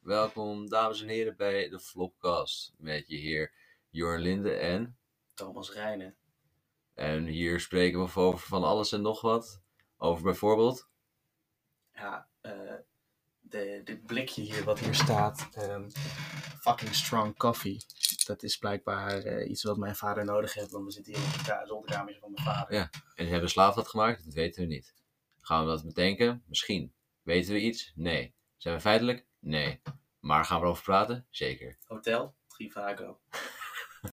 Welkom, dames en heren, bij de Flopcast. Met je heer Jorn Linde en... Thomas Rijnen. En hier spreken we over van alles en nog wat. Over bijvoorbeeld... Ja, eh, de, dit blikje hier wat hier staat. ehm, fucking strong coffee. Dat is blijkbaar eh, iets wat mijn vader nodig heeft. Want we zitten hier in het ka- zolderkamertje van mijn vader. Ja. En hebben de slaaf dat gemaakt? Dat weten we niet. Gaan we dat bedenken? Misschien. Weten we iets? Nee. Zijn we feitelijk? Nee. Maar gaan we erover praten? Zeker. Hotel Trivago.